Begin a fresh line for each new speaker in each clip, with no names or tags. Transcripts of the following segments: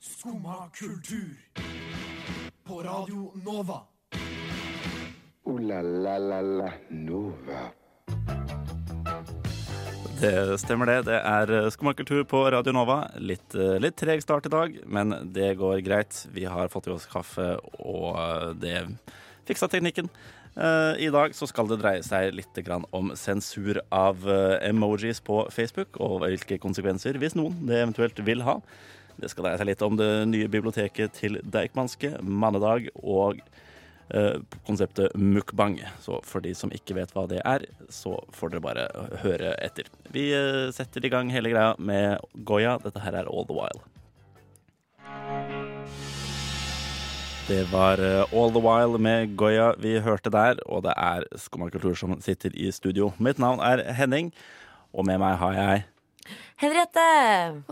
Skumma kultur. På Radio Nova.
Ooh la la la la Nova.
Det stemmer det. Det er Skomakultur på Radio Nova. Litt, eh, litt treg start i dag, men det går greit. Vi har fått i oss kaffe, og eh, det fiksa teknikken. Eh, I dag så skal det dreie seg litt grann om sensur av eh, emojis på Facebook, og hvilke konsekvenser, hvis noen, det eventuelt vil ha. Det skal dreie seg litt om det nye biblioteket til Deichmanske, Mannedag og eh, konseptet mukbang. Så for de som ikke vet hva det er, så får dere bare høre etter. Vi eh, setter i gang hele greia med Goya. Dette her er All The While. Det var eh, All The While med Goya vi hørte der, og det er Skumma kultur som sitter i studio. Mitt navn er Henning, og med meg har jeg
Henriette!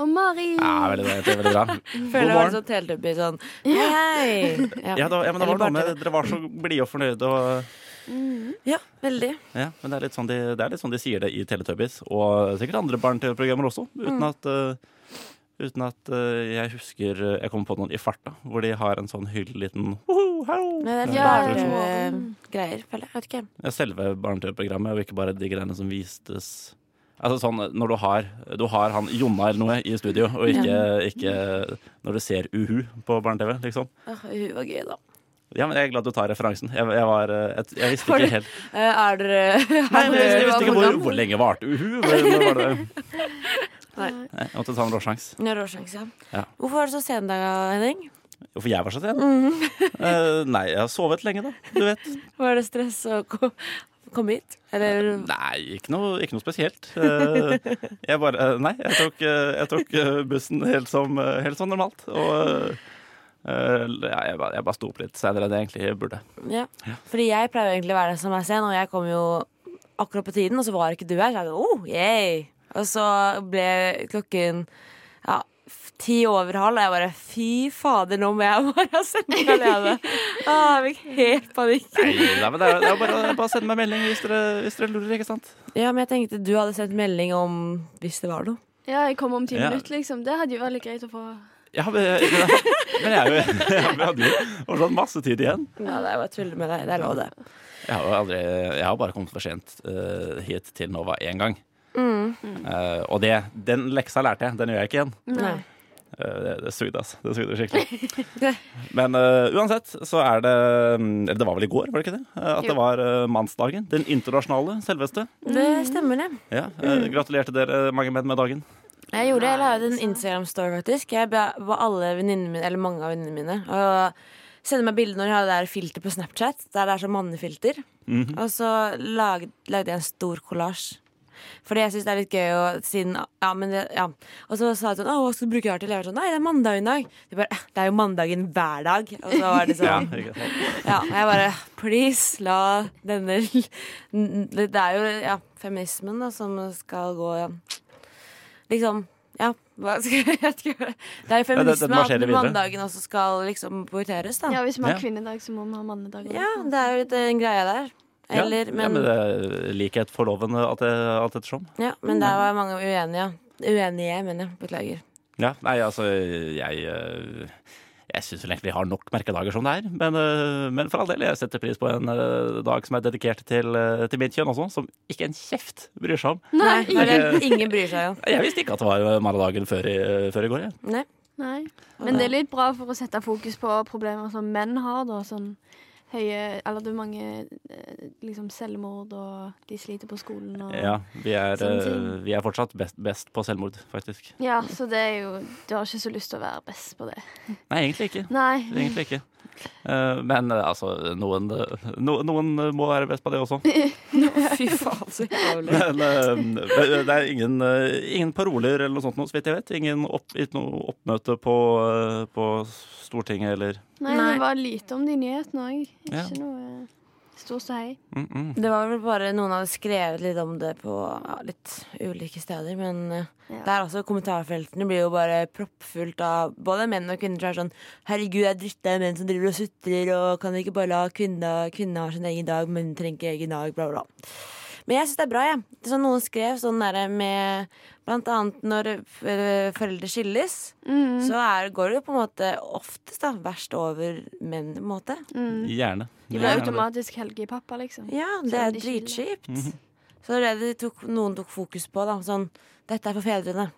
Og Mari!
ja, veldig, bra, det er veldig bra. God
Føler det var
morgen.
så teletubby sånn Hei, hei!
Ja, det var, ja, men det var
Eller
noe
bare
med,
tele-
dere var så blide og fornøyde. og...
Ja, veldig.
Ja, men det er litt sånn de, det er litt sånn de sier det i Teletubbies, og sikkert andre barne-TV-programmer også, uten at, eh, uten at eh, jeg husker eh, Jeg kommer på noen i farta, hvor de har en sånn hyll liten «Woho, hallo!»
Men det er
Ja,
bare
det er
sånn.
eh, greier, føler jeg. Vet ikke.
Ja, Selve barne-TV-programmet, og ikke bare de greiene som vistes Altså sånn når du har, du har han Jonna eller noe i studio, og ikke, ikke når du ser Uhu på barne-TV, liksom.
Åh, Ah, Hun var gøy, da.
Ja, men jeg er glad du tar referansen. Jeg, jeg var eh, Jeg, jeg visste
Var
ikke
det-
helt
Eh, Er dere
Nei, men eh, jeg, jeg visste ikke hvor,
hvordan-
hvor lenge varte Uhu. Hvor var det?
Nei.
Nei, Jeg måtte ta en råsjanse.
Ja, råsjanse, ja.
Ja.
Hvorfor var det så sen i dag, Henning?
Hvorfor jeg var så sen? Eh, nei, jeg har sovet lenge, da. Du vet.
Var det stress å ko- komme hit? Eller
Nei, ikke noe, ikke noe spesielt. Eh, jeg bare eh, Nei, jeg tok, eh, jeg tok eh, bussen helt som, eh, helt som normalt. Og eh, ja, jeg, bare, jeg bare sto opp litt senere enn jeg egentlig burde.
Ja. Fordi jeg pleier jo egentlig å være den som er sen, og jeg kom jo akkurat på tiden, og så var ikke du her. Så jeg tenkte, oh, yay. Og så ble klokken ja, f- ti over halv, og jeg bare fy fader, nå må jeg bare sende meg alene. ah, jeg fikk helt panikk.
Nei, nei men det er, det er bare, bare send meg melding hvis dere, hvis dere lurer, ikke sant?
Ja, men jeg tenkte du hadde sendt melding om hvis det var noe.
Ja, jeg kom om ti
Ja.
minutter, liksom. Det hadde jo vært litt greit å få.
Ja, men, men jeg, er jo, jeg hadde jo fortsatt masse tid igjen.
Ja, det er bare å tulle med deg. Det er lov, det.
Jeg har, jo aldri, jeg har bare kommet for sent eh, hit til Nova én gang. Eh, og det, den leksa lærte jeg. Den gjør jeg ikke igjen.
Nei.
Eh, Det, det sugde, altså. Det sugde skikkelig. Men eh, uansett så er det mm, Eller det var vel i går, var det ikke det? Eh, At
Jo.
det var eh, mannsdagen. Den internasjonale, selveste.
Det stemmer, det.
Ja, eh, Gratulerte dere, mange menn, med dagen.
Jeg gjorde det, jeg la ut en Instagram-story faktisk. Jeg ba ba alle venninnene mine, eller mange av venninnene mine, å sende meg bilder når de hadde det der filter på Snapchat, der det er sånn mannefilter. Og så lag, lagde jeg en stor kollasj. Fordi jeg syns det er litt gøy å siden Ja, men det, ja. Og så sa de sånn Å, hva skal du bruke det her til? Jeg var sånn Nei, det er mandag i dag. De bare «Eh, Det er jo mandagen hver dag. Og så var det
Ja,
sånn
ikke sant?
Ja. Og jeg bare Please, la denne Det er jo ja, feminismen da, som skal gå ja. Liksom Ja, hva skal jeg vet ikke. Det er jo
det- det
feminisme
marsjerer
at
videre.
mandagen også skal liksom prioriteres, da.
Ja,
Ja,
hvis vi har
Ja.
kvinnedag, så må vi ha mannedag. også.
det er jo litt eh, en greie der. Eller,
ja,
men,
ja, men det er likhet for loven, eh, alt, det- alt ettersom.
ja, men der var mange uenige. Uenige, mener jeg. Beklager.
Ja, nei, altså, jeg eh, jeg syns vel egentlig vi har nok merkedager som det er, men, eh, men for all del, jeg setter pris på en eh, dag som er dedikert til, eh, til mitt kjønn også, som ikke en kjeft bryr seg om.
Nei,
Nei,
det er det ingen bryr seg om.
Jeg visste ikke at det var mandagen før, i- eh, før i går. Jeg.
Nei.
Nei. Men det er litt bra for å sette fokus på problemer som menn har, da. Sånn høye Eller det er mange eh, liksom selvmord, og de sliter på skolen og
Ja, vi er,
Sånne ting.
eh, vi er fortsatt best, best på selvmord, faktisk.
Ja, så det er jo Du har ikke så lyst til å være best på det.
Nei, egentlig ikke.
Nei.
Egentlig ikke. Eh, men eh, altså, noen, eh, no, noen eh, må være best på det også.
Fy faen, så jævlig.
Men eh, det er ingen, eh, ingen paroler eller noe sånt, nå, så vidt jeg vet. Ingen opp, ikke noe oppmøte på, eh, på Stortinget eller
Nei,
Nei.
det var lite om de nyhetene òg. Ikke
Ja.
noe eh, stor ståhei.
mm -mm.
Det var vel bare noen hadde skrevet litt om det på ja, litt ulike steder, men eh,
Ja.
Der også kommentarfeltene blir jo bare proppfullt av både menn og kvinner som er sånn Herregud, jeg er dritt av menn som driver og sutrer, og kan vi ikke bare la kvinner Kvinner ha sin egen dag, men trenger ikke egen dag, bla, bla. bla». Men jeg syns det er bra, jeg. Det er sånn noen skrev sånn derre med Blant annet når f- øh, foreldre skilles, så er, går det jo på en måte oftest da verst over menn, på en måte.
Gjerne.
De blir automatisk helgepappa, liksom.
Ja, det
Selv om
er
de skiller.
dritkjipt. Så det er det de tok, noen tok fokus på, da. Sånn Dette er for fedrene.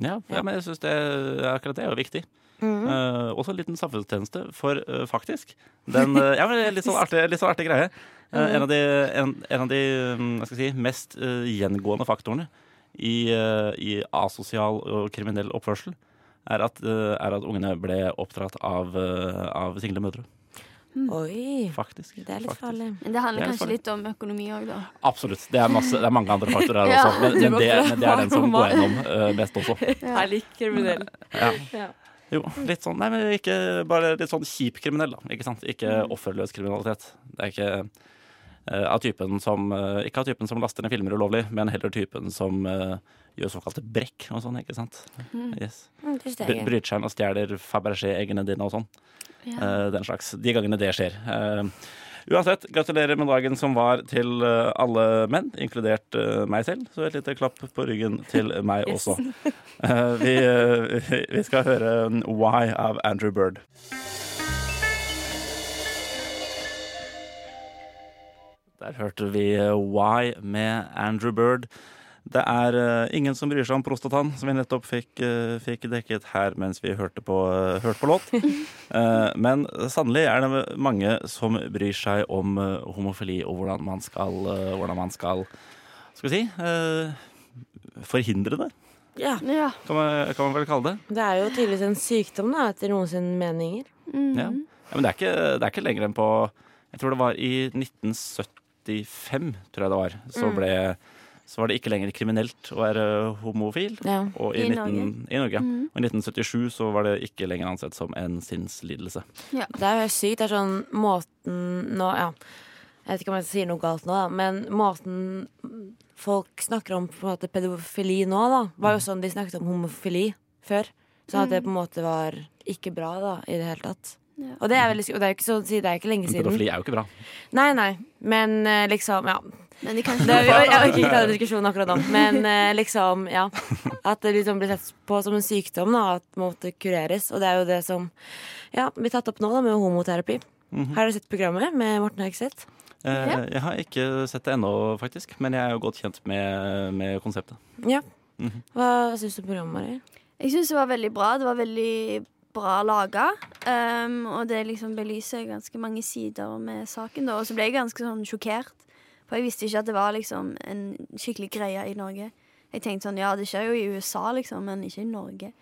Ja, ja men jeg synes det, akkurat det er jo viktig.
Mm.
Eh, også en liten samfunnstjeneste, for eh, faktisk den, eh, ja, men det er litt, sånn artig, litt sånn artig greie. Eh,
Mm.
en, av de, en, en av de mm, hva skal jeg si, mest eh, gjengående faktorene i, eh, i asosial og kriminell oppførsel er at, eh, er at ungene ble oppdratt av, eh, av single mødre.
Mm. Oi.
Faktisk.
Det er litt
faktisk.
farlig.
Men det handler
Det er
kanskje
farlig.
litt om økonomi òg, da.
Absolutt. Det er, masse, det er mange andre faktorer her
Ja,
også, men,
det
men,
går
det,
fra
men det er den som
mamma.
går gjennom eh, mest også.
Ja.
litt kriminell.
Ja.
Ja.
Jo, litt sånn, nei, men ikke bare litt sånn kjip kriminell, da. Ikke sant? Ikke
Mm.
offerløs kriminalitet. Det er ikke eh, av typen som eh, Ikke av typen som laster ned filmer ulovlig, men heller typen som eh, gjør såkalte brekk og sånn, ikke sant. Yes.
Mm, det
Bry-
synes jeg er gøy.
Bryter seg inn og stjeler Fabergé-eggene dine og sånn.
Ja.
Eh, Den slags. De gangene det skjer. Eh, Uansett, gratulerer med dagen som var til eh, alle menn, inkludert eh, meg selv. Så et lite klapp på ryggen til meg
Yes.
også. Eh, Vi, eh, vi skal høre Why av Andrew Bird. Der hørte vi eh, Why med Andrew Bird. Det er eh, ingen som bryr seg om prostatan, som vi nettopp fikk, eh, fikk dekket her mens vi hørte på, hørte på låt. Eh, men sannelig er det mange som bryr seg om eh, homofili og hvordan man skal, eh, hvordan man skal, skal vi si, eh, forhindre det,
Ja.
ja.
kan man, kan man vel kalle det.
Det er jo tydeligvis en sykdom, da, etter noen sine meninger.
Ja.
Mhm.
Ja, men det er, ikke, det er ikke lenger enn på Jeg tror det var i 1975, tror jeg det var, så,
Mm.
ble, så var det ikke lenger kriminelt å være homofil.
Ja.
Og i,
I
19,
Norge. Mhm.
I Norge. ja. Og i 1977 så var det ikke lenger ansett som en sinnslidelse.
Det er jo helt sykt. Det er sånn måten nå Ja. Jeg vet ikke om jeg sier noe galt nå, da, men måten folk snakker om på en måte pedofili nå, da, var jo sånn de snakket om homofili før. Sånn at det på en måte var ikke bra da, i det hele tatt.
Ja.
Og det er veldig sk- og det er jo ikke sånn å si, det er ikke lenge
Men
siden.
pedofili er jo ikke bra.
Nei, nei, men eh, liksom, ja.
Men de kan
Det,
ikke
jeg orker ikke ta den diskusjonen akkurat nå, men eh, liksom, ja. At det liksom blir sett på som en sykdom, da, at det måtte kureres. Og det er jo det som ja, blir tatt opp nå, da, med homoterapi. Har dere sett programmet med Morten Høgseth?
Eh, Jeg har ikke sett det ennå, faktisk. Men jeg er jo godt kjent med, med konseptet.
Ja. Mhm. Hva syns du om programmet, Mari?
Jeg syns det var veldig bra. Det var veldig bra laga. Um, og det liksom belyser ganske mange sider med saken. da Og så ble jeg ganske sånn sjokkert. For jeg visste ikke at det var liksom en skikkelig greie i Norge. Jeg tenkte sånn, ja, det skjer jo i USA, liksom, men ikke i Norge.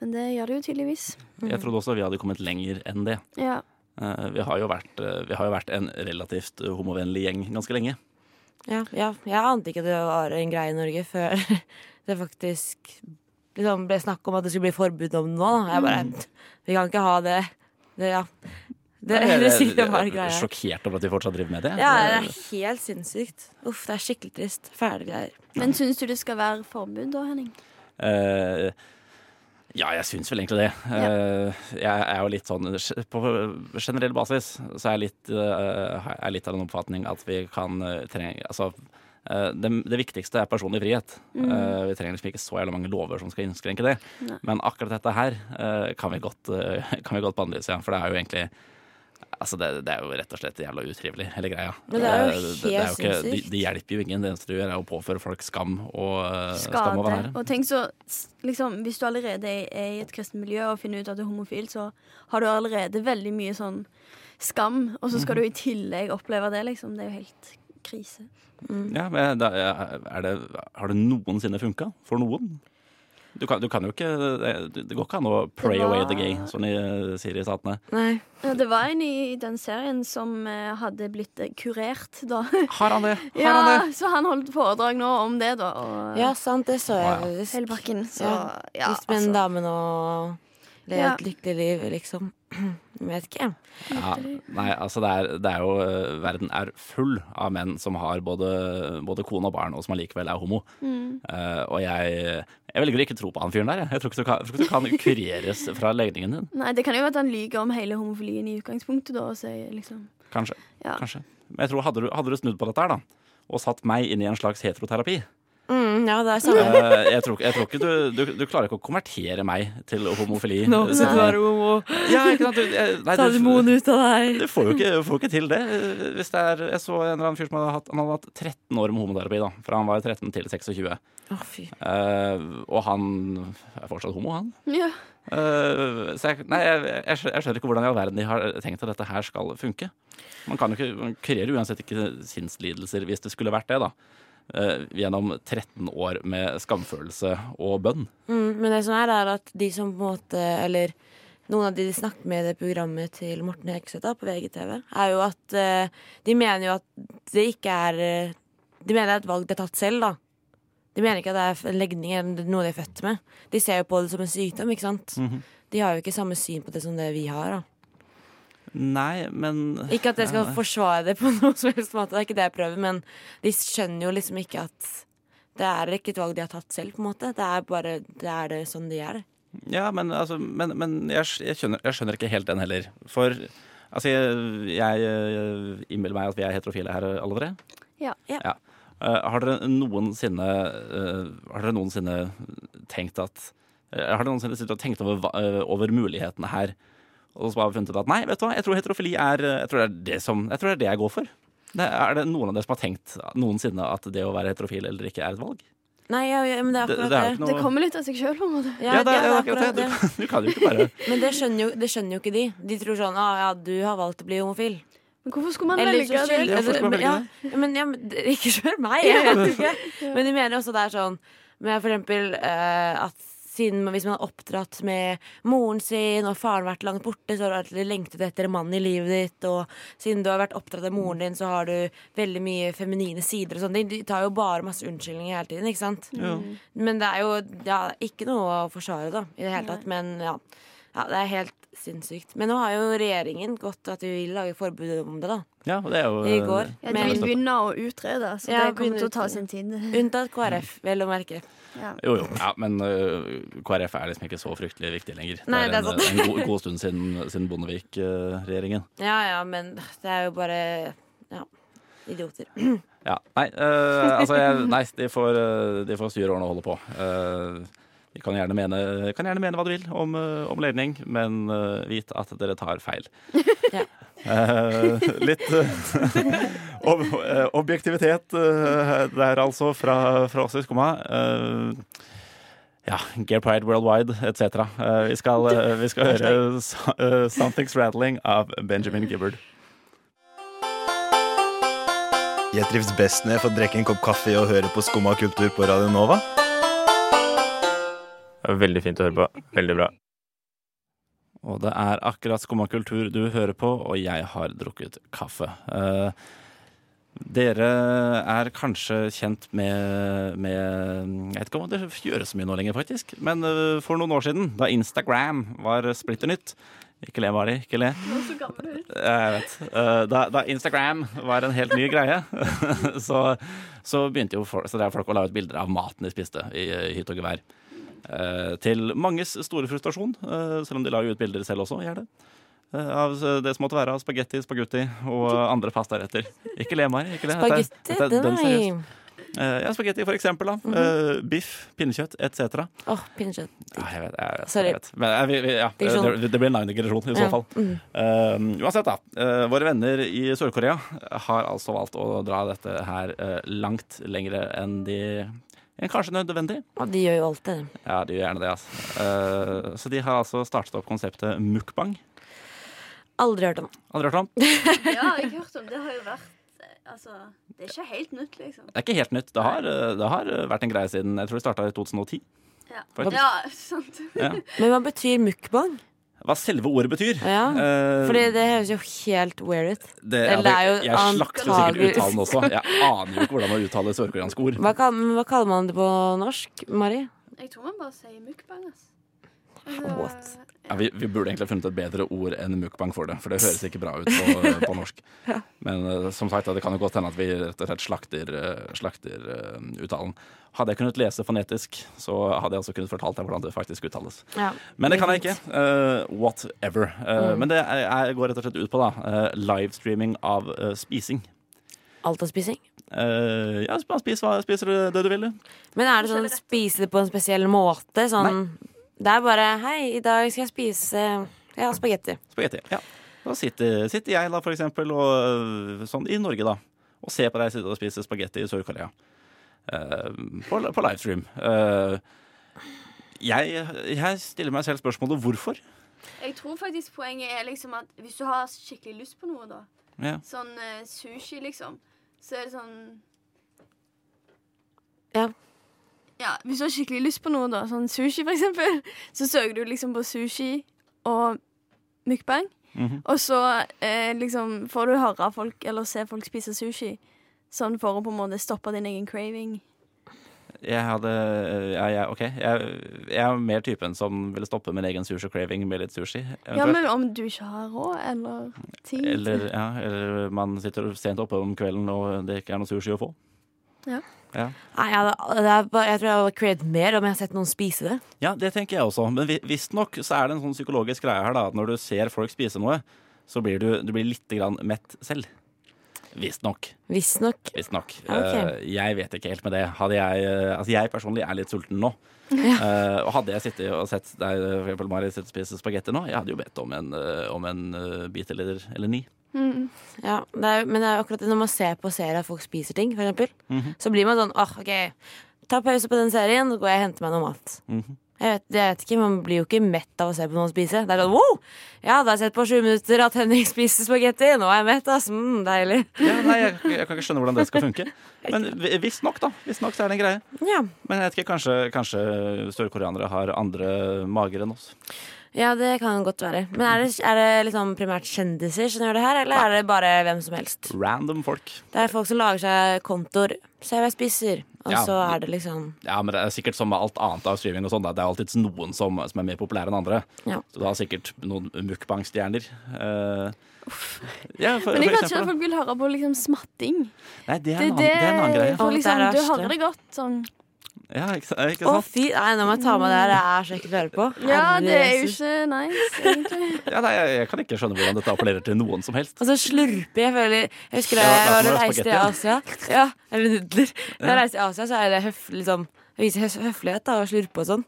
Men det gjør det jo tydeligvis.
Jeg trodde også vi hadde kommet lenger enn det.
Ja.
Eh, Vi har jo vært, eh, vi har jo vært en relativt homovennlig gjeng ganske lenge.
Ja, ja, jeg ante ikke det var en greie i Norge før det faktisk liksom ble snakk om at det skulle bli forbud om det nå. Da. Jeg bare Vi kan ikke ha det. det ja. Det,
Jeg-
det sier
jeg
det var
er
greia.
Sjokkert over at de fortsatt driver med det.
Ja, det er helt sinnssykt. Uff, det er skikkelig trist. Fæle greier.
Men syns du det skal være forbud da, Henning?
Eh, ja, jeg syns vel egentlig det. Eh, jeg er jo litt sånn På generell basis så er jeg litt, eh, er litt av den oppfatning at vi kan eh, trenge Altså, eh, det, det viktigste er personlig frihet.
Mm.
Eh, vi trenger liksom ikke så jævla mange lover som skal innskrenke det.
Nei.
Men akkurat dette her eh, kan vi godt, eh, kan vi godt på andre sida, for det er jo egentlig Altså det, det er jo rett og slett jævla utrivelig, hele greia.
Men det er jo
Eh,
helt
de,
sinnssykt.
de hjelper jo ingen. Det eneste du gjør, er å påføre folk skam og eh, skam og vanære.
Skade. Og tenk så, s- liksom, hvis du allerede er i et kristent miljø og finner ut at du er homofil, så har du allerede veldig mye sånn skam, og så skal du i tillegg oppleve det, liksom. Det er jo helt krise.
Ja, men da, er det, har det noensinne funka for noen? Du kan, du kan jo ikke Det det går ikke an å pray
Det var-
away the gay, som de eh, sier i Statene.
Nei.
Ja, Eh, det var en i den serien som eh, hadde blitt eh, kurert, da.
Har han det? Har han
ja,
det?
så han holdt foredrag nå om det, da. Og eh,
Ja, sant, det så jeg
Wow.
faktisk.
hele pakken. Så
Ja.
ja,
Hvis med en
altså.
dame nå lever
Ja.
et lykkelig liv, liksom. Jeg vet ikke.
Ja, nei, altså det er, det er jo eh, Verden er full av menn som har både, både kone og barn, og som allikevel er homo.
Mm.
Eh, og jeg, jeg velger å ikke tro på han fyren der. Jeg, jeg tror ikke du kan, jeg tror ikke du kan kureres fra legningen din.
Nei, det kan jo være at han lyver om hele homofilien i utgangspunktet, da, og sier liksom
Kanskje.
Ja.
Kanskje. Men jeg tror hadde du, hadde du snudd på dette her, da, og satt meg inn i en slags heteroterapi.
Mm, ja, det er samme.
Eh, jeg, tror, jeg tror ikke du, du Du klarer ikke å konvertere meg til homofili.
Nå sitter du her og
Ja, ikke sant? Du, jeg, nei,
tar
du-
demonen ut av deg.
Du får jo ikke, får ikke til det. Eh, Hvis det er, jeg så en eller annen fyr som hadde hatt, han hadde hatt 13 år med homoterapi, da, fra han var 13 til 26.
Å, fy.
Eh, og han er fortsatt homo, han.
Ja.
Eh, så jeg, nei, jeg, jeg, skjønner, jeg skjønner ikke hvordan i all verden de har tenkt at dette her skal funke. Man kan jo ikke man kurerer uansett ikke sinnslidelser, hvis det skulle vært det, da. eh, gjennom 13 år med skamfølelse og bønn.
Mm, men det som er, er at de som på en måte Eller noen av de de snakket med i det programmet til Morten Hekseth da, på VGTV, er jo at eh, de mener jo at det ikke er eh, De mener det er et valg de har tatt selv, da. De mener ikke at det er en legning eller noe de er født med. De ser jo på det som en sykdom, ikke sant. De har jo ikke samme syn på det som det vi har. da
Nei, men
Ikke at jeg skal forsvare det på noen som helst måte, det er ikke det jeg prøver, men de skjønner jo liksom ikke at det er ikke et valg de har tatt selv, på en måte. Det er bare det er det sånn de er.
Ja, men, altså, men, men jeg, sk- jeg, skjønner, jeg skjønner ikke helt den heller. For altså, jeg, jeg, eh, innbiller meg at vi er heterofile her, eh, alle tre.
Ja.
Ja.
Eh, har dere noensinne eh, Har dere noensinne tenkt at eh, Har dere noensinne sittet og tenkt over, hva- eh, over mulighetene her? Og så bare funnet ut at nei, vet du hva, jeg tror heterofili er eh, Jeg tror det er det, som, jeg, tror det, er det jeg går for. Det, er det noen av dere som har tenkt noensinne at det å være heterofil eller ikke er et valg?
Nei, ja, ja, men det er
Det,
akkurat
det er jo
det.
ikke
Det
noe
kommer litt av seg sjøl, på en måte.
Ja,
ja, det, er- det,
ja, det er
er akkurat
akkurat
det. Du, du kan jo ikke bare
Men det skjønner, jo, det skjønner jo ikke de. De tror sånn ah, ja, du har valgt å bli homofil.
Men hvorfor skulle man
Eller
velge
så
det?
skyld,
Ja,
altså,
folk må
men-
velge
ja, men, ja, men det- Ikke kjør meg, jeg vet ikke. Men de mener også det er sånn med for eksempel eh, at siden man, hvis man er oppdratt med moren sin, og faren vært langt borte, så har du alltid lengtet etter en mann i livet ditt, og siden du har vært oppdratt av moren din, så har du veldig mye feminine sider og sånne ting. De tar jo bare masse unnskyldninger hele tiden, ikke sant?
Ja.
Men det er jo ja, ikke noe å forsvare, da, i det hele tatt. Men ja. ja, det er helt sinnssykt. Men nå har jo regjeringen gått at de vil lage forbud om det, da.
Ja, og det er jo eh,
I går.
Ja, de
Men-
vil begynne å utrede, så
Ja,
det kommer til
begynne
å ta
å
sin tid.
Unntatt KrF, vel å merke.
Ja.
Jo, jo. Ja, men øh, KrF er liksom ikke så fryktelig viktig lenger.
Nei, det er
en, eh,
sant.
en god, god stund siden, siden eh, Bondevik-regjeringen.
Ja ja, men det er jo bare ja, idioter.
ja. Nei, øh, altså jeg, nei de, får, øh, de får styre årene og holde på. Eh, de kan gjerne, mene, kan gjerne mene hva de vil om, øh, om ledning, men øh, vit at dere tar feil.
Ja.
Eh, litt eh, ob eh, objektivitet eh, der, altså, fra, fra oss i Skumma. Eh, ja, Gay Pride Worldwide etc. Eh, vi, skal, eh, vi skal høre so- eh, 'Something's Rattling' av Benjamin Gibbard.
Jeg trives best når jeg får drikke en kopp kaffe og høre på Skumma kultur på Radio Nova.
Veldig fint å høre på. Veldig bra.
Og det er akkurat Skumma kultur du hører på, og jeg har drukket kaffe. Eh, dere er kanskje kjent med, med Jeg vet ikke om det gjøres så mye nå lenger, faktisk. Men eh, for noen år siden, da Instagram var splitter nytt Ikke le, Mari. Ikke le. Jeg vet. Eh, Da, da Instagram var en helt ny greie, så, så begynte jo folk, så drev folk å la ut bilder av maten de spiste i eh, hytt og gevær. Eh, til manges store frustrasjon, eh, selv om de la jo ut bilder selv også, gjør det. Eh, av eh, det som måtte være av spagetti, spagutti og andre pastaretter. Ikke le, Mari. Ikke le. Dette er-
Spagetti, Mhm.
dette er
den
dønn
er
seriøst. Eh, ja, spagetti for eksempel, da. Eh, biff, pinnekjøtt etc.
Åh, pinnekjøtt.
Ja, jeg vet, jeg vet,
Sorry.
Jeg vet. Men, eh, vi, vi, ja,
Digresjon.
det, det blir en lang digresjon i så
Ja.
fall. Eh, uansett, da. eh, våre venner i Sør-Korea har altså valgt å dra dette her eh, langt lengre enn de enn kanskje nødvendig.
Og de gjør jo alt det.
Ja, de gjør gjerne det, altså. Eh, så de har altså startet opp konseptet mukbang.
Aldri hørt om.
Har dere hørt om?
Ja, jeg har hørt om det. har jo vært Altså, det er ikke helt nytt, liksom.
Det er ikke helt nytt. Det har, eh, det har vært en greie siden jeg tror det starta i 2010.
Ja,
Faktisk.
sant.
Ja.
Men hva betyr mukbang?
Hva selve ordet betyr.
Ja,
Eh,
Fordi det høres jo helt weird ut.
det, ja,
det
det,
er jo
jeg slakter jo sikkert
antagelig-
uttalen også. Jeg aner jo ikke hvordan man uttaler sørkoreanske ord.
Hva, kal- hva kaller man det på norsk, Mari?
Jeg tror man bare sier mukbang, ass. Altså,
What?
Ja, vi, vi burde egentlig ha funnet et bedre ord enn mukbang for det, for det høres ikke bra ut på, på norsk. Men eh, som sagt, da, det kan jo godt hende at vi rett og slett slakter, eh, slakter eh, uttalen. Hadde jeg kunnet lese fonetisk, så hadde jeg også kunnet fortalt deg hvordan det faktisk uttales.
Ja.
Men det kan jeg ikke. Eh, whatever. Eh, Men det er, er- går rett og slett ut på da, eh, livestreaming av eh, spising.
alt av spising?
Eh, ja, bare spis, hva- spiser du det du vil, du.
Men er det sånn spise det på en spesiell måte? Sånn, det er bare Hei, i dag skal jeg spise ja, spagetti.
Spagetti. Ja. Da sitter, sitter jeg da, for eksempel, og, øh, sånn, i Norge, da, og ser på deg sitte og spise spagetti i Sør-Korea. Eh, på, på livestream. Eh, jeg, jeg stiller meg selv spørsmålet hvorfor.
Jeg tror faktisk poenget er liksom at hvis du har skikkelig lyst på noe, da,
Ja.
sånn eh, sushi, liksom, så er det sånn
Ja.
Ja, hvis du har skikkelig lyst på noe, da, sånn sushi, for eksempel, så søker du liksom på sushi og mukbang,
Mhm.
og så eh, liksom får du høre folk, eller se folk spise sushi, sånn for å på en måte stoppe din egen craving.
Jeg hadde Ja, jeg, OK. Jeg, jeg er mer typen som ville stoppe min egen sushi-craving med litt sushi.
Ja,
eventuelt.
men om du ikke har råd, eller tid.
eller, ja, eller man sitter sent oppe om kvelden og det ikke er noe sushi å få.
Nei, jeg, hadde- det er bare, jeg tror jeg hadde craved mer om jeg hadde sett noen spise det.
Ja, det tenker jeg også. Men vi- visstnok så er det en sånn psykologisk greie her, da. At når du ser folk spise noe, så blir du, du blir litt grann mett selv. Visstnok.
Visstnok.
Visstnok.
Ja, ok.
Eh, Jeg vet ikke helt med det. Hadde jeg, eh, altså jeg personlig er litt sulten nå. Eh, og hadde jeg sittet og sett deg, eh, for eksempel Mari, sitte og spise spagetti nå, jeg hadde jo bedt om en, eh, om en eh, bit eller, eller ni.
Ja, det er, men det er jo akkurat det når man ser på serier at folk spiser ting, for eksempel, så blir man sånn åh, OK, ta pause på den serien, så går jeg og henter meg noe mat.
Mhm.
Jeg vet, jeg vet ikke, Man blir jo ikke mett av å se på noen spise. Det er sånn, wow! Ja, da har jeg sett på sju minutter at Henning spiser spagetti. Nå er jeg mett, ass. Mm, deilig.
Ja, nei, jeg, jeg kan ikke skjønne hvordan det skal funke. Men vi- visstnok, da. Visstnok så er det en greie.
Ja.
Men jeg vet ikke, kanskje, kanskje sørkoreanere har andre mager enn oss.
Ja, det kan godt være. Men er det, er det liksom primært kjendiser som gjør det her, eller er det bare hvem som helst?
Random folk.
Det er folk som lager seg kontoer. Se hva jeg spiser. Og
Ja.
så er det liksom
Ja, men det er sikkert som med alt annet av streaming og sånn, da. det er alltid noen som, som er mer populære enn andre.
Ja.
Så du har sikkert noen mukbang-stjerner. Eh, ja, for,
Men
for
jeg kan ikke
eksempel,
at
da.
folk vil høre på liksom smatting.
Nei, det er,
Det
en annen,
er
det er en annen
det
greie.
Å,
for
det
liksom,
er det
Du
verste.
hører det godt sånn.
Ja, ikke, ikke
Å,
sant?
fy! Nei, nå må jeg ta med det her. Det er så ekkelt å høre på.
Ja,
Herre
det er jo
Jesus.
ikke nice, egentlig.
Ja, nei, jeg, jeg kan ikke skjønne hvordan dette appellerer til noen som helst.
Og så slurper jeg. føler Jeg husker da
Ja,
jeg
klart
var
når det
og
er
reiste i Asia.
spagetti.
Ja, Eller nudler. Når jeg reiser i Asia, så er det høf, liksom, jeg viser høf, høflighet da, og slurpe og sånn.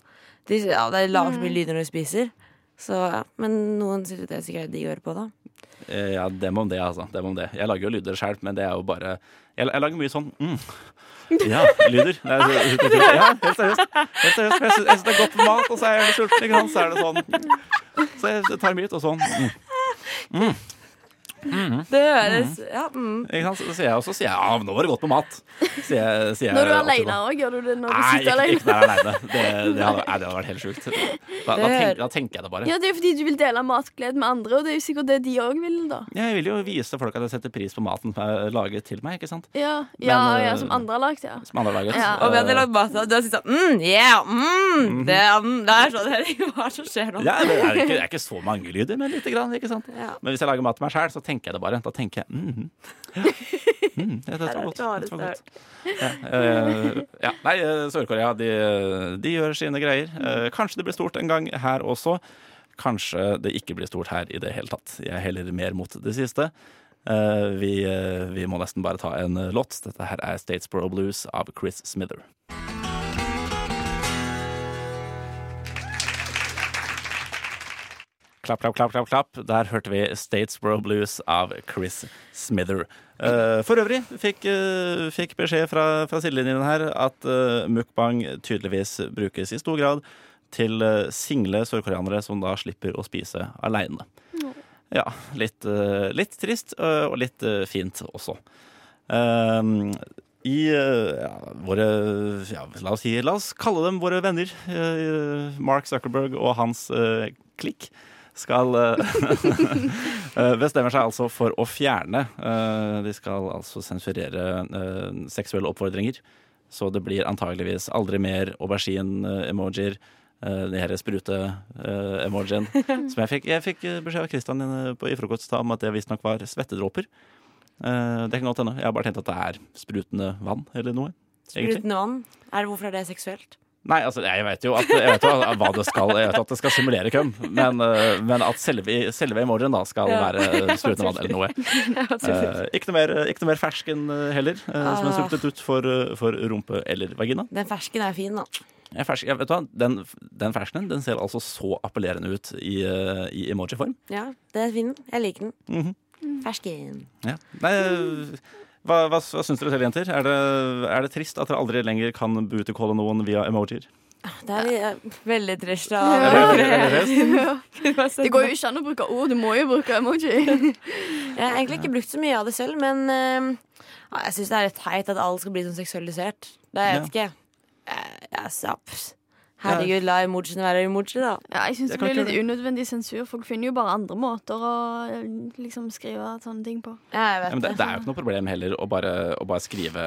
De, ja, det lager
Mm.
så mye lyd når de spiser. Så, ja. Men noen syns jo det er sikkert digg å høre på, da.
Eh, ja, dem om det, altså. Dem om det. Jeg lager jo lyder sjøl, men det er jo bare Jeg, jeg lager mye sånn mm. Ja, lyder. Det er, så- så- så- ja, helt seriøst. Helt seriøst. for Jeg syns jeg syns det er godt med mat, og så er jeg sulten, ikke sant. Så er det sånn. Så jeg tar en bit, og sånn. Mm.
Det høres ja, mm.
Ikke sant? Så sier jeg også sier jeg, ja, nå var det godt med mat. Sier jeg, sier jeg
Når du er
alltid
aleine
sånn.
òg, gjør du det når du
Nei,
sitter
ikke, ikke
alene.
når jeg er aleine. Det, det, hadde- nei, det hadde vært helt sjukt. Da, da, tenker, da tenker jeg det bare.
Ja, det er jo fordi du vil dele matglede med andre, og det er jo sikkert det de òg vil, da.
Jeg vil jo vise folk at jeg setter pris på maten som er laget til meg, ikke sant.
Ja, ja,
Men,
ja
eh,
som andre har lagd, ja.
Som andre har laget.
Ja,
Og vi hadde
Eh,
lagd mat, og du hadde syntes sånn mm, Yeah!
Mhm.
Mm, det, er- mm, det er sånn Hva er det som skjer nå?
Ja, det er, ikke, det er ikke så mange lyder, men lite grann. ikke sant?
Ja.
Men hvis jeg lager mat til meg sjøl, så tenker jeg det bare. Da tenker jeg mhm, ja. mm, ja, Dette var godt. Dette var godt. Ja, eh, ja. Nei, eh, Sør-Korea, de, de gjør sine greier. Eh, kanskje det blir stort en gang her også. Kanskje det ikke blir stort her i det hele tatt. Jeg heller mer mot det siste. Eh, vi, eh, vi må nesten bare ta en eh, låt. Dette her er Statesboro Blues av Chris Smither. Klapp, klapp, klapp, klapp, klapp. Der hørte vi Statesboro Blues av Chris Smither. Eh, for øvrig fikk, eh, fikk beskjed fra, fra sidelinjen her at eh, mukbang tydeligvis brukes i stor grad til eh, single sørkoreanere som da slipper å spise aleine. Ja, litt, eh, litt trist eh, og litt eh, fint også. Ehm, i eh, ja, våre ja, la, oss si, la oss kalle dem våre venner. eh, Mark Zuckerberg og hans eh, klikk skal eh, Bestemmer seg altså for å fjerne eh, De skal altså sensurere eh, seksuelle oppfordringer. Så det blir antageligvis aldri mer aubergine-emojier. Uh, den her sprute-emojien. som jeg fikk, jeg fikk beskjed av Christian eh, på, i frokost da om at det visstnok var svettedråper. Eh, det kan godt hende. Jeg har bare tenkt at det er sprutende vann eller noe. egentlig.
Sprutende vann. Er det, hvorfor er det seksuelt?
Nei, altså, jeg vet jo at, jeg vet jo hva det skal Jeg vet at det skal simulere køm, men, eh, men at selve, selve emojien da skal
Ja.
være sprutende vann eller noe. Eh, ikke, noe mer, ikke noe mer fersken eh, heller, eh, som en
Ah.
substitutt for, eh, for rumpe eller vagina.
Den fersken er fin, da.
Jeg fersk, jeg vet du hva, den, den ferskenen den ser altså så appellerende ut i, eh, i emoji-form.
Ja, den er fin. Jeg liker den.
Mhm.
Mm. Fersken.
Ja. Nei, hva, hva, hva syns dere selv, jenter? Er det, er det trist at dere aldri lenger kan bootycalle noen via emojier?
Det er eh, veldig trist. Da.
Ja.
Er det- er det trist?
Det går jo ikke an å bruke ord, du må jo bruke emoji.
Jeg har egentlig ikke brukt så mye av det selv, men eh, ja, jeg syns det er litt teit at alle skal bli sånn seksualisert. Det jeg vet ikke. Eh, Jeg sa, pss. Herregud, la emojiene være emojier, da.
Ja, jeg syns
Jeg
det
kan
blir
ikke
litt unødvendig sensur. Folk finner jo bare andre måter å eh, liksom skrive sånne ting på.
Ja, jeg
Ja, men
vet
det, det er jo ikke noe problem heller å bare, å bare skrive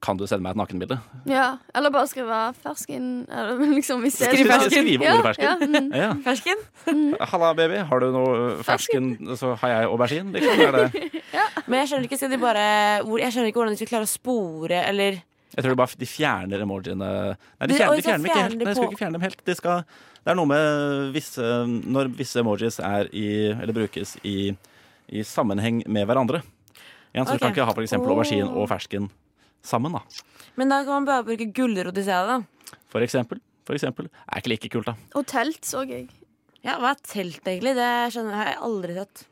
Kan du sende meg et nakenbilde?
Ja, Eller bare skrive 'fersken' eller liksom i stedet
Skriv
for-
fersken.
Skrive
Ja,
ordet fersken?
ja, mm.
Ja.
Fersken?
Halla, baby. Har du noe fersken, så har jeg aubergine. Liksom. Er det,
Men jeg skjønner ikke skal de bare hvor- Jeg skjønner ikke hvordan de skal klare å spore eller
jeg tror det bare de fjerner emojiene Nei, de
Men, og
fjerner, de
så
fjerner dem ikke
fjerner
helt.
de
Nei, jeg skulle
på-
ikke fjerne dem helt. De skal, det er noe med visse Når visse emojis er i Eller brukes i, i sammenheng med hverandre. Ja, så
Ok.
Du kan ikke ha f.eks.
Åh.
aubergine og fersken sammen, da.
Men da kan man bare bruke gulrot i stedet, da.
For eksempel. For eksempel. Er ikke like kult, da.
Og telt, så jeg.
Ja, hva er telt, egentlig? Det skjønner jeg, har jeg aldri sett.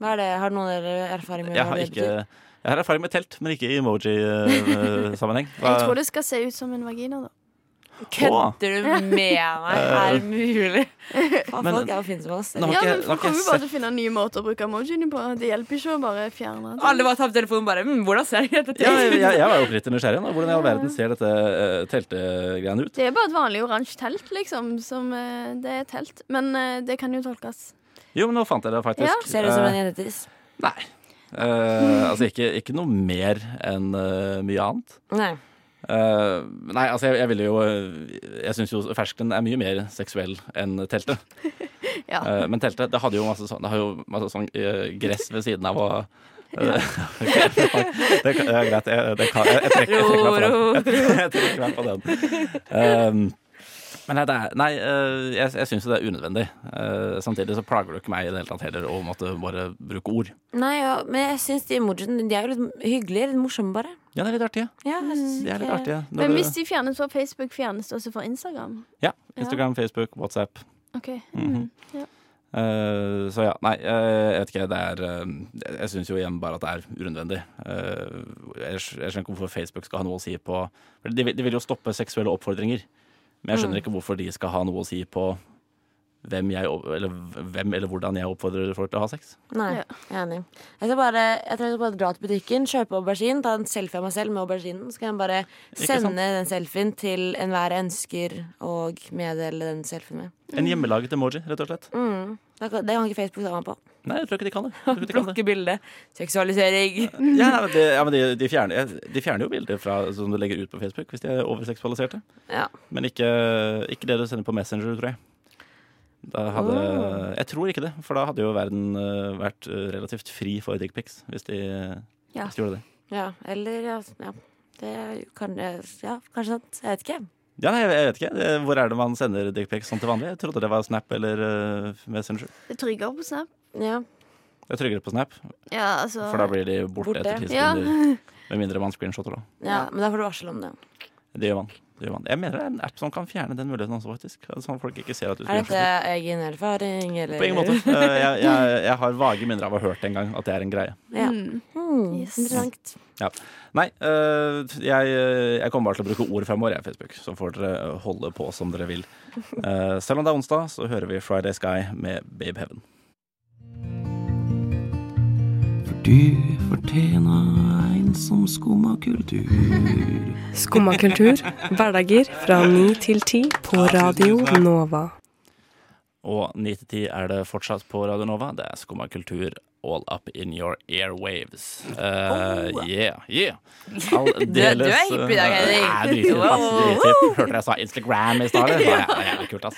Hva er det? Har noen av dere erfaring
Jeg
med hva
har,
det
ikke,
betyr?
jeg har erfaring med telt, men ikke i eh, emoji-sammenheng.
Jeg tror det skal se ut som en vagina, da.
Åh.
Kødder du med meg? Er det mulig? Faen,
Eh. Men-
folk er jo fine som oss.
Nå har
Ja,
ikke-
men
nå har ikke jeg
Folk kommer jo bare til å finne nye måter å bruke emojiene på. Det hjelper ikke å bare fjerne det.
Alle bare tar opp telefonen bare «Hm, Hvordan ser jeg dette
Ja, jeg,
til?
jeg var jo oppriktig nysgjerrig. Da. Hvordan i all verden ser dette eh, teltegreiene ut?
Det er bare et vanlig oransje telt, liksom. Som, eh, det er et telt. Men eh, det kan jo tolkes.
Jo, men nå fant jeg det faktisk.
Ja.
Ser ut som en
Eh,
jentetiss.
Nei. Eh, altså ikke, ikke noe mer enn eh, mye annet.
Nei.
Eh, nei, altså jeg, jeg ville jo eh, Jeg syns jo fersken er mye mer seksuell enn teltet.
Ja.
Eh, men teltet, det hadde jo masse sånn Det har jo masse sånn eh, gress ved siden av og det, kan- ja, greit. Jeg, det kan, jeg, jeg trekker jeg trekker meg på den. jeg trekker meg på den. Um, men nei, det er, nei eh, jeg, jeg syns jo det er unødvendig. Eh, samtidig så plager det jo ikke meg i det hele tatt heller å måtte bare bruke ord.
Nei, ja, men jeg syns de emojiene de er jo litt hyggelige. Litt morsomme, bare.
Ja, det er litt artig. Ja.
Ja, jeg synes
De er litt
ikke-
artige. Når
Men
du-
hvis de fjernes fra Facebook, fjernes det også fra Instagram?
ja, Instagram, Facebook, WhatsApp.
Ok. Mm.
Mhm.
Ja.
Eh, så ja, nei, eh, jeg vet ikke. Det er eh, Jeg, jeg syns jo igjen bare at det er unødvendig. Eh, jeg, skj- jeg skjønner ikke hvorfor Facebook skal ha noe å si på for de, vil- de vil jo stoppe seksuelle oppfordringer, men jeg skjønner ikke hvorfor de skal ha noe å si på hvem, jeg, opp- eller, hvem eller hvordan jeg oppfordrer folk til å ha sex.
Nei,
Ja.
jeg er enig. Jeg, skal bare, jeg tror jeg skal bare dra til butikken, kjøpe aubergine, ta en selfie av meg selv med auberginen. Så kan jeg bare
Ikke
sende
sant?
den selfien til enhver jeg ønsker og meddele den selfien med.
En hjemmelaget emoji, rett og slett.
Mm. Det kan det kan ikke Facebook ta meg på.
Nei, jeg tror ikke de kan det. Jeg tror ikke de kan det.
Plukke bilde. Seksualisering.
Ja, nei, men det, ja, men de, de, fjerner, de fjerner jo bilder fra, som du legger ut på Facebook, hvis de er overseksualiserte.
Ja.
Men ikke, ikke det du sender på Messenger, tror jeg. Da hadde,
Åh.
Jeg tror ikke det, for da hadde jo verden eh, vært eh, relativt fri for dickpics. Hvis, de-
Ja.
hvis de gjorde det.
ja. Eller ja. ja. Det kan Ja, kanskje sant. Jeg vet ikke.
Ja, nei, jeg vet ikke. Det- Hvor er det man sender dickpics sånn til vanlig? Jeg trodde det var Snap eller eh, Messenger.
Det er tryggere på Snap.
Ja.
Jeg trykker på Snap,
Ja, altså
for da blir de borte,
Borte.
etter ti
Ja.
sekunder. Med mindre man screenshotter, da.
ja. Men da får du varsel om det.
Det gjør man. Det gjør man. Jeg mener det er en app som kan fjerne den muligheten også, faktisk. Sånn at folk ikke ser at du
Er dette
screenshotter.
egen erfaring, eller?
På ingen måte. Eh, Jeg, jeg, jeg har vage minner av å ha hørt en gang at det er en greie.
Ja.
Mm.
Hmm,
Yes.
Interessant.
Nei, øh, jeg, jeg kommer bare til å bruke ord fremover, jeg, Facebook. Så får dere holde på som dere vil. Eh, selv om det er onsdag, så hører vi Friday Sky med Babe Heaven.
For du fortjener en som skummer kultur.
Skumma kultur. Hverdager fra 9 til 10 på Radio Nova.
Og 9 til 10 er det fortsatt på Radio Nova. Det er Skumma kultur all up in your airwaves. Eh, yeah, yeah. Aldeles
Oh. Du er- du er hipp i dag, Henrik.
eh, Jeg er drithipp, ass. Drithipp. Hørte dere jeg sa Instagram i stad? eller? Ja, Det er jævlig kult, ass.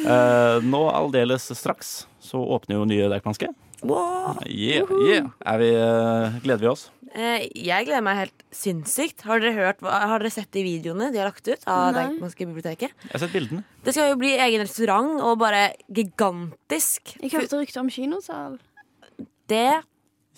Eh, nå aldeles straks så åpner jo nye Deichmanske.
Wow.
Yeah, yeah. Er vi, eh, gleder vi oss?
Eh, Jeg gleder meg helt sinnssykt. Har dere, hørt, hva- har dere sett de videoene de har lagt ut av
Nei.
Deichmanske biblioteket?
Jeg har sett bildene.
Det skal jo bli egen restaurant og bare gigantisk.
Jeg hørte rykter om kinosal.
Det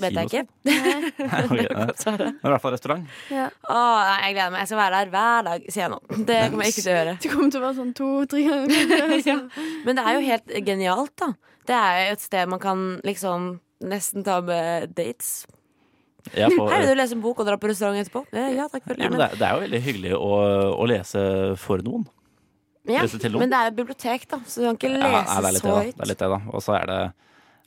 vet jeg ikke.
Ok, nei.
Svaret.
Men i hvert fall restaurant.
Ja.
Åh, nei, jeg gleder meg. Jeg skal være der hver dag, sier jeg nå. Det kommer jeg ikke til å gjøre.
Det kommer til å være sånn to-tre ganger. liksom.
Ja. Men det er jo helt genialt, da. Det er jo et sted man kan liksom nesten ta med dates.
Jeg får-
Her vil du lese en bok og dra på restaurant etterpå. Eh, Ja, takk for
ja, men
det.
det, er, det er jo veldig hyggelig å, å lese for noen.
Ja,
lese til noen.
men det er et bibliotek, da, så du kan ikke
Ja, ja, det er
lese
litt det, da. Det
så
er
høyt.
litt det, da. Og så er det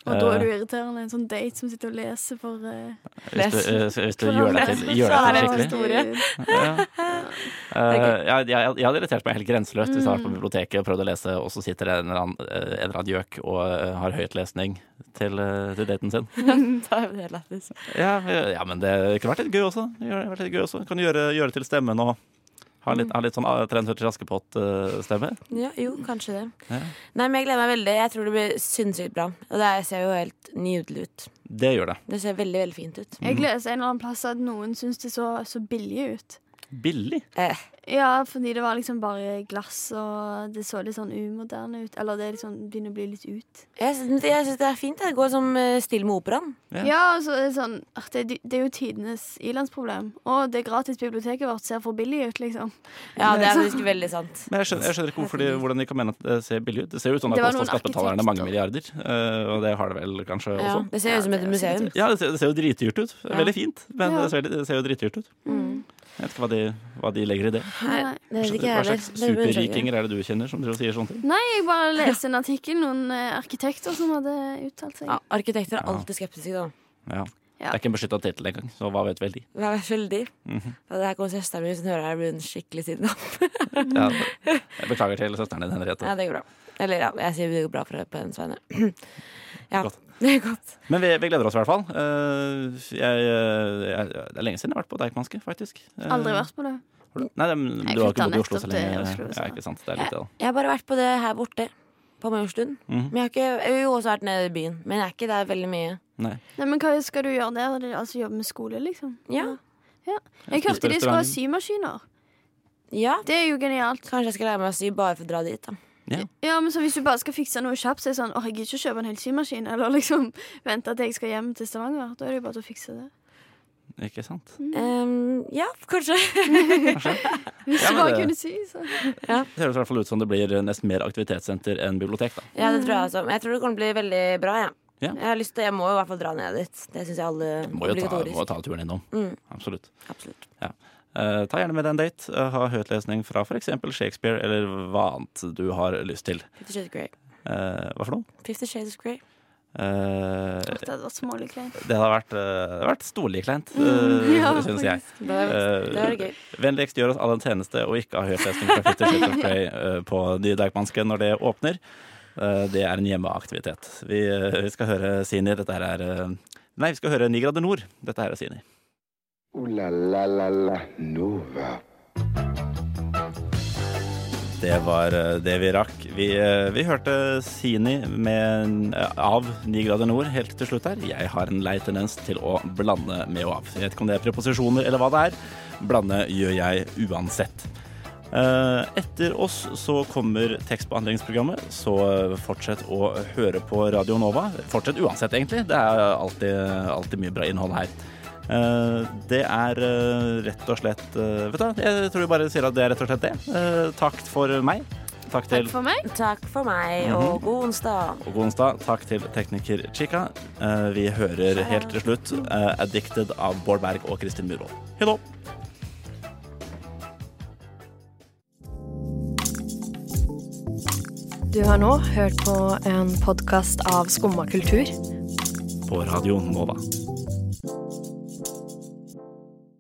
Og da er du
eh,
irriterende. En sånn date som sitter og leser for eh,
hvis du, eh, hvis du gjør deg til,
hverandre.
gjør deg til
Så er det
skikkelig. Mm.
historie.
Ja. Eh, jeg, jeg, jeg hadde irritert meg helt grenseløst hvis jeg har vært på biblioteket og prøvd å lese, og så sitter det en eller annen, eh, en eller annen gjøk og eh, har høytlesning til, eh, til daten sin.
Da er det helt lættis.
Ja, eh, ja, men det kunne vært litt gøy også. Det kunne vært litt gøy også. Kan gjøre, gjøre til stemmen og ha litt, ha litt sånn ah, 43 Askepott-stemme.
Ja, jo, kanskje det.
Ja.
Nei, men Jeg gleder meg veldig. Jeg tror det blir sinnssykt bra. Og det ser jo helt nydelig ut.
Det gjør det.
Det ser veldig veldig fint ut.
Jeg leser en eller annen plass at noen syns det så, så billig ut.
Billig.
Eh,
Ja, fordi det var liksom bare glass, og det så litt sånn umoderne ut. Eller det liksom begynner å bli litt ut.
jeg syns jeg syns det er fint. Det går som eh, still med operaen.
Ja.
Ja, og så er det sånn at det, det er jo tidenes ilandsproblem. Og det gratis biblioteket vårt ser for billig ut, liksom.
Ja, det er faktisk veldig sant.
Men jeg skjønner, jeg skjønner ikke hvorfor de, hvordan de kan mene at det ser billig ut. Det ser jo ut som det
Det
har
var
kosta
noen
skattebetalerne mange
arkitekter.
milliarder, eh, og det har det vel kanskje
Ja,
også.
det ser ut som et
Ja, det er
museum.
sikkert.
Ja, det ser, det ser jo dritdyrt ut. Veldig fint, men
Ja.
det, ser, det ser jo dritdyrt ut.
Mm.
Jeg vet ikke hva de, hva de legger i det.
Nei, det vet ikke jeg
Hva
heller.
slags
Det blir undersøkt.
superrikinger er det du kjenner som driver og sier sånne ting?
Nei, jeg bare leste en artikkel, noen eh, arkitekter som hadde uttalt seg.
Ja, arkitekter er
Ja.
alltid skeptiske, da.
Ja. Det
Ja.
er ikke en beskytta tittel engang, så hva vet vel de?
Hva er skyldig?
Mhm.
Ja, det her kommer søsteren min, hvis hun hører det her, blir hun skikkelig siden av.
Ja, jeg beklager til søsteren din, Henriette.
Ja, det går bra. Eller ja, jeg sier det går bra for på hennes vegne. Ja,
Godt.
det er godt.
Men vi, vi gleder oss i hvert fall. Eh, jeg, jeg, det er lenge siden jeg har vært på Deichmanske, faktisk. Eh,
Aldri vært på det.
har du- Nei, det, men
Jeg
du har ikke bodd
flyttet
i Oslo så
nettopp til
lenge.
Oslo, så-
ja, ikke sant. Det er litt det, da.
Jeg har bare vært på det her borte, på Majorstuen.
Mhm.
Men jeg har, ikke, jeg har jo også vært nede i byen, men jeg er ikke der veldig mye.
Nei.
Nei, men hva skal du gjøre der? Er det Altså jobbe med skole, liksom?
Ja,
Jeg
spise på
hørte de skal ha
restauranten.
symaskiner.
ja.
Det er jo genialt.
Kanskje jeg skal lære meg å sy bare for å dra dit, da.
Ja, men så Hvis du bare skal fikse noe kjapt, så er det sånn åh, jeg gidder ikke kjøpe en hel symaskin. Eller liksom vente til jeg skal hjem til Stavanger. Da er det jo bare til å fikse det.
Ikke sant.
Ehm, ja, kanskje.
Hvis
Ja,
du
men
bare
det-
kunne sy, så.
Det høres i hvert fall ut som det blir nesten mer aktivitetssenter enn bibliotek, da.
Ja, det tror jeg også. Men Jeg tror det kommer til å bli veldig bra, jeg.
Ja.
Jeg har lyst til, jeg må jo i hvert fall dra ned dit. Det syns jeg alle
Må jo ta,
obligatorisk.
må jo ta turen innom.
Mm.
Absolutt.
Absolutt.
Eh, ta gjerne med deg en date. eh, ha høytlesning fra f.eks. Shakespeare, eller hva annet du har lyst til.
Fifty Shades of Grey.
Eh, hva for noe?
Fifty Shades of Grey.
Eh,
Åh, Det hadde vært så målig kleint.
det har vært, eh, det har vært storlig kleint,
ja,
uh, syns jeg.
Det var, Mm. det var
Eh,
gøy.
vennligst gjør oss alle en tjeneste og ikke ha høytlesning fra Fifty Shades of Grey eh, på Nye Deichmanske når det åpner. Eh, det er en hjemmeaktivitet. Vi, eh, vi skal høre Sini. Dette her er eh, Nei, vi skal høre Ni grader nord. Dette her er Sini.
Ooh la la la la Nova.
Det var eh, det vi rakk. Vi, eh, vi hørte Sini med, eh, av 9 grader nord helt til slutt her. Jeg har en lei tendens til å blande med og av. Jeg vet ikke om det er preposisjoner eller hva det er. Blande gjør jeg uansett. Eh, Etter oss så kommer tekstbehandlingsprogrammet, så eh, fortsett å høre på Radio Nova. Fortsett uansett, egentlig. Det er alltid, alltid mye bra innhold her. Eh, Det er eh, rett og slett eh, Vet du, hva, jeg tror vi bare sier at det er rett og slett det. Eh, Takk for meg. Takk til
Takk for meg.
Takk for meg,
Mhm.
og god onsdag.
og god onsdag. Takk til tekniker Chica. Eh, Vi hører helt til slutt eh, 'Addicted' av Bård Berg og Kristin Murvold. Hello!
Du har nå hørt på en podkast av Skumma kultur.
På Radio Nova.